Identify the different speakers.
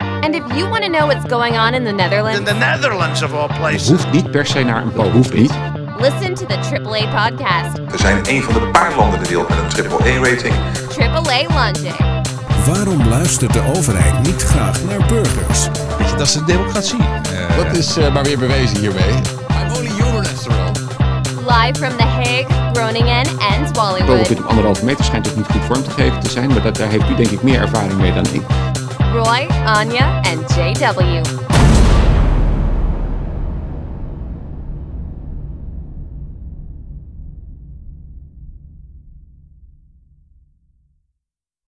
Speaker 1: And if you want to know what's going on in the
Speaker 2: In
Speaker 1: Netherlands,
Speaker 2: the Netherlands of all places.
Speaker 3: Hoeft niet per se naar een poging. Hoeft niet.
Speaker 1: listen to the AAA podcast,
Speaker 4: We zijn een van de paar landen in de wereld met een AAA-rating.
Speaker 1: AAA Lunging.
Speaker 5: Waarom luistert de overheid niet graag naar burgers?
Speaker 6: Weet je, dat is de democratie. Eh,
Speaker 7: Dat is eh, maar weer bewezen hiermee. I'm only human after all.
Speaker 1: Live from The Hague, Groningen, and
Speaker 3: Bijvoorbeeld
Speaker 1: Swallowwood.
Speaker 3: op anderhalve meter schijnt ook niet goed vorm te geven te zijn. Maar dat, daar heeft u denk ik meer ervaring mee dan ik.
Speaker 1: Roy, Anya, and JW.